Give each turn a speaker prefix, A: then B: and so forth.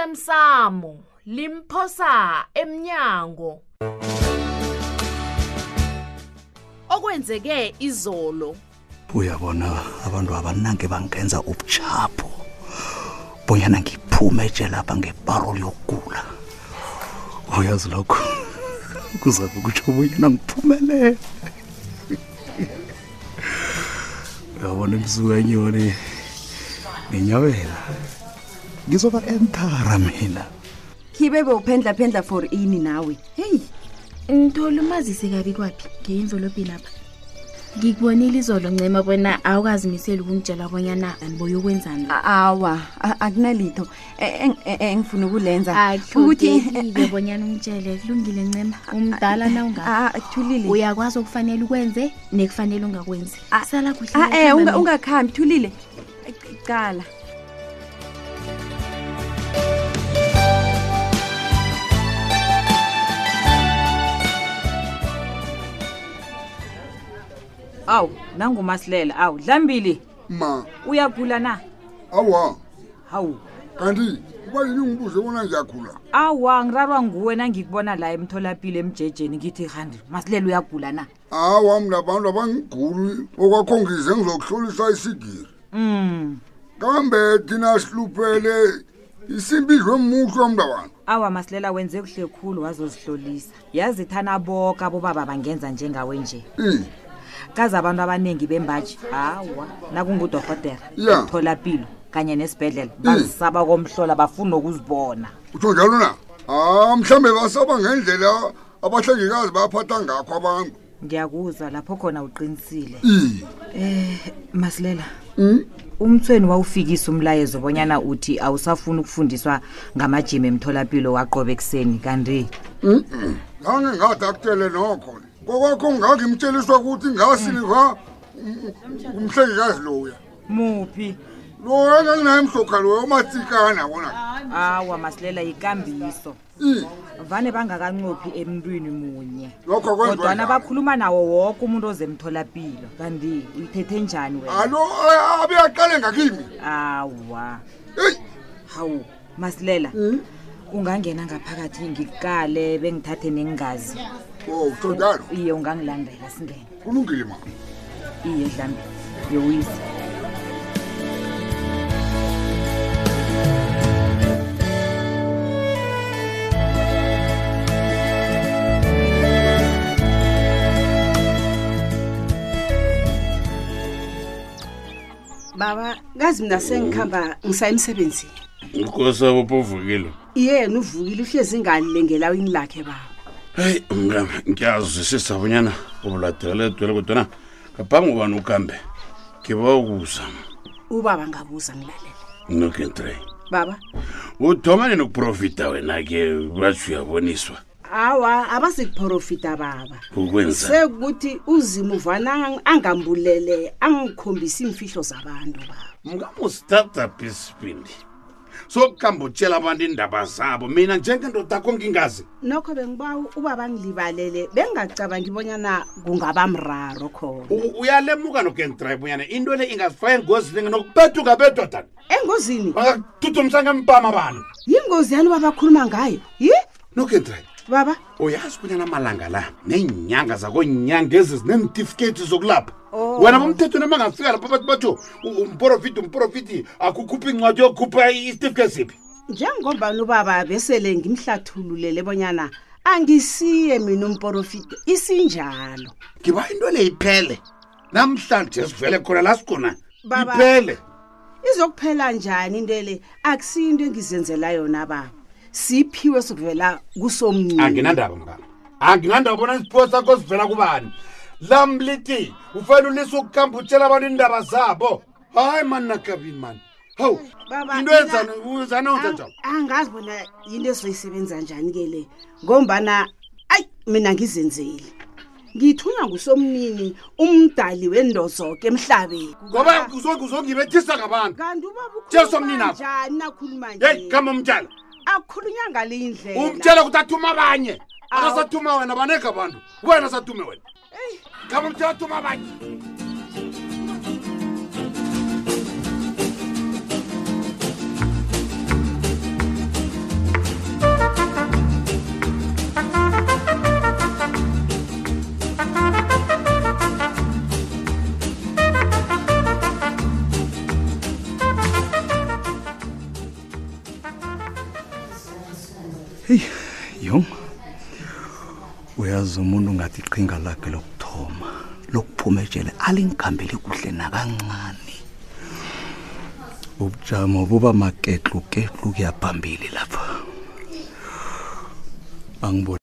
A: osemsamo limphosa emnyango okwenzeke izolo
B: uyabona abantu abanange bangenza ubuchapho bonyana ngiphume nje lapha ngeparol yokugula uyazi lokho kuzabe kutsho bonyana ngiphumelele uyabona imsuku enyoni nginyabela ngizoba entara mina
C: khibe bewuphendlaphendla for ini nawe heyi
D: ngithole umazise kabi kwaphi ngeyimvelobhini apha ngikubonile izolo ncema bona awukazimiseli ukungitshela bonyana andiboya ukwenzani la
C: A- awa a- akunalitho E- eng- e- engifuna ukulenza eh,
D: akuhlogekile bonyana ungitshele kulungile ncema umdala na unga
C: Ah, thulile
D: uyakwazi okufanele ukwenze nekufanele ungakwenzi
C: Ah,
D: sala kuhle
C: Ah, eh,
D: ngiyakhamba
C: unga-
D: mina.
C: ungakhambi thulile C- cala
E: awu nangumasilela awu dlambili
F: ma
E: uyagula na
F: awa
E: hawu
F: kanti kuba yini ngibuze bona ngiyakhula
E: awa ngirarwa nguwe nangikubona la emtholapilo emjejeni ngithi handi masilela uyagula na
F: hawa mna abantu abangiguli okwakho ngize ngizokuhlolisa isigiri
E: um
F: kambe thina sihluphele isimbidlwe muhlwa mntu abantu
E: awa masilela wenze kuhle khulu wazozihlolisa yazi thana boka bobaba bangenza njengawe nje
F: i
E: kazi abantu abaningi bembaji hawa nakungudorhotera
F: Ya.
E: emtholapilo kanye nesibhedlela bazisaba komhlola bafuna nokuzibona
F: utsho njalo na ha mhlawumbe basaba ngendlela abahlengikazi bayaphatha ngakho abantu
E: ngiyakuzwa lapho khona uqinisile Eh,
F: i
E: masilela umthweni wawufikisa umlayezo bonyana uthi awusafuni ukufundiswa ngamajimi emtholapilo waqobe ekuseni kanti
F: zange ngathi akutele nokho le kokwakho ngangimtsheliswa ukuthi ngasilika umhlengikazi loya
E: muphi
F: loya nganginaye mhlokha loya umatsikana wona
E: awa masilela yikambiso vane bangakancophi emntwini munye
F: lokho
E: kodwana
F: kwenziwa
E: bakhuluma nawo woke umuntu ozemtholapilo kanti uyithethe njani wena
F: alo
G: eh,
F: a- abe aqale ngakimi
E: awa
F: eyi
E: hawu masilela ungangena ngaphakathi ngikale bengithathe nengazi
F: o
G: Oh,
F: utsho njalo
E: iye ungangilandela singene
F: kulungile mama
E: iye dlambi yowisa
H: baba kazi mina sengikhamba ngisaye emsebenzini
G: nkosi abopha uvukile
H: yena uvukile uhlezi ingani lengelawini lakhe baba
G: heyi mngame ngiyazwisisa bonyana ubuladekela edwele kodwana ngaphambi kobani ukuhambe ngiba ukuza
H: ubaba ngabuza ngilalela
G: nokentrey
H: baba
G: uthoma nini ukuprofita wena-ke batho uyaboniswa
H: hawa abasikuprofita baba
G: ukwenza
H: sekukuthi uzima uvana angambulele angikhombisi imfihlo zabantu baba
G: mngame usitatapi isipindi sokuhamba utshela abantu iindaba zabo mina njengendoda akho ngingazi
H: nokho bengibawa ubaba ngilibalele bengingacabangi ibonyana kungaba mraro khona
G: U- uyalemuka nokentrey bonyana into le ingazifaka engozini nokubethuka bedodana
H: engozini
G: bangakuthuthumisanga empama abantu
H: yingozi yani ubaba akhuluma ngayo yi
G: nokentrey
H: baba
G: uyazi kunyana amalanga la neenyanga zakonyanga ezi zineenitifiketi zokulapha wena bomthethweni abangafika lapha bathi batho u- umprofiti umprofiti akukhuphi incwadi yokukhupha isitifiketi siphi
H: njengombani ubaba besele ngimhlathululele bonyana angisiye mina umporofite isinjalo
G: ngiba into le iphele namhlanje sivele khona la sikhona
H: Baba.
G: iphele
H: izokuphela njani into le akusiyo into engizenzela yona baba siphiwe sokuvela kusomnini
G: anginandaba mngana anginandaba bona isiphiwo sakho sivela kubani lam lithi ufanele ulise ukukhamba utshela abantu iindaba zabo hayi mani nakabini mani hawu
H: Baba,
G: into
H: mina-
G: ezanonza njalo
H: Ang- angazi bona yinto ezoyisebenza njani ke le ngombana ayi mina ngizenzeli ngithunywa ngusomnini umdali wendoda zonke emhlabeni
G: ngoba uzongibethisa ngabantu
H: kanti ubaba
G: Tjela somninakho.
H: ukhulumanjani nakhuluma
G: yeyi
H: nje
G: kama umtshela
H: akhulunywa ngale indlela
G: umtshela ukuthi athuma abanye
H: Awu.
G: akasathuma wena baneka abantu wena sathume wena kama umtshela athuma abanye
B: heyi yong uyazi umuntu ungathi iqhinga lakhe lokuthoma lokuphuma ejele alingikhambeli kuhle nakancane ubujamo buba maketluketlu kuyaphambili lapha angiboni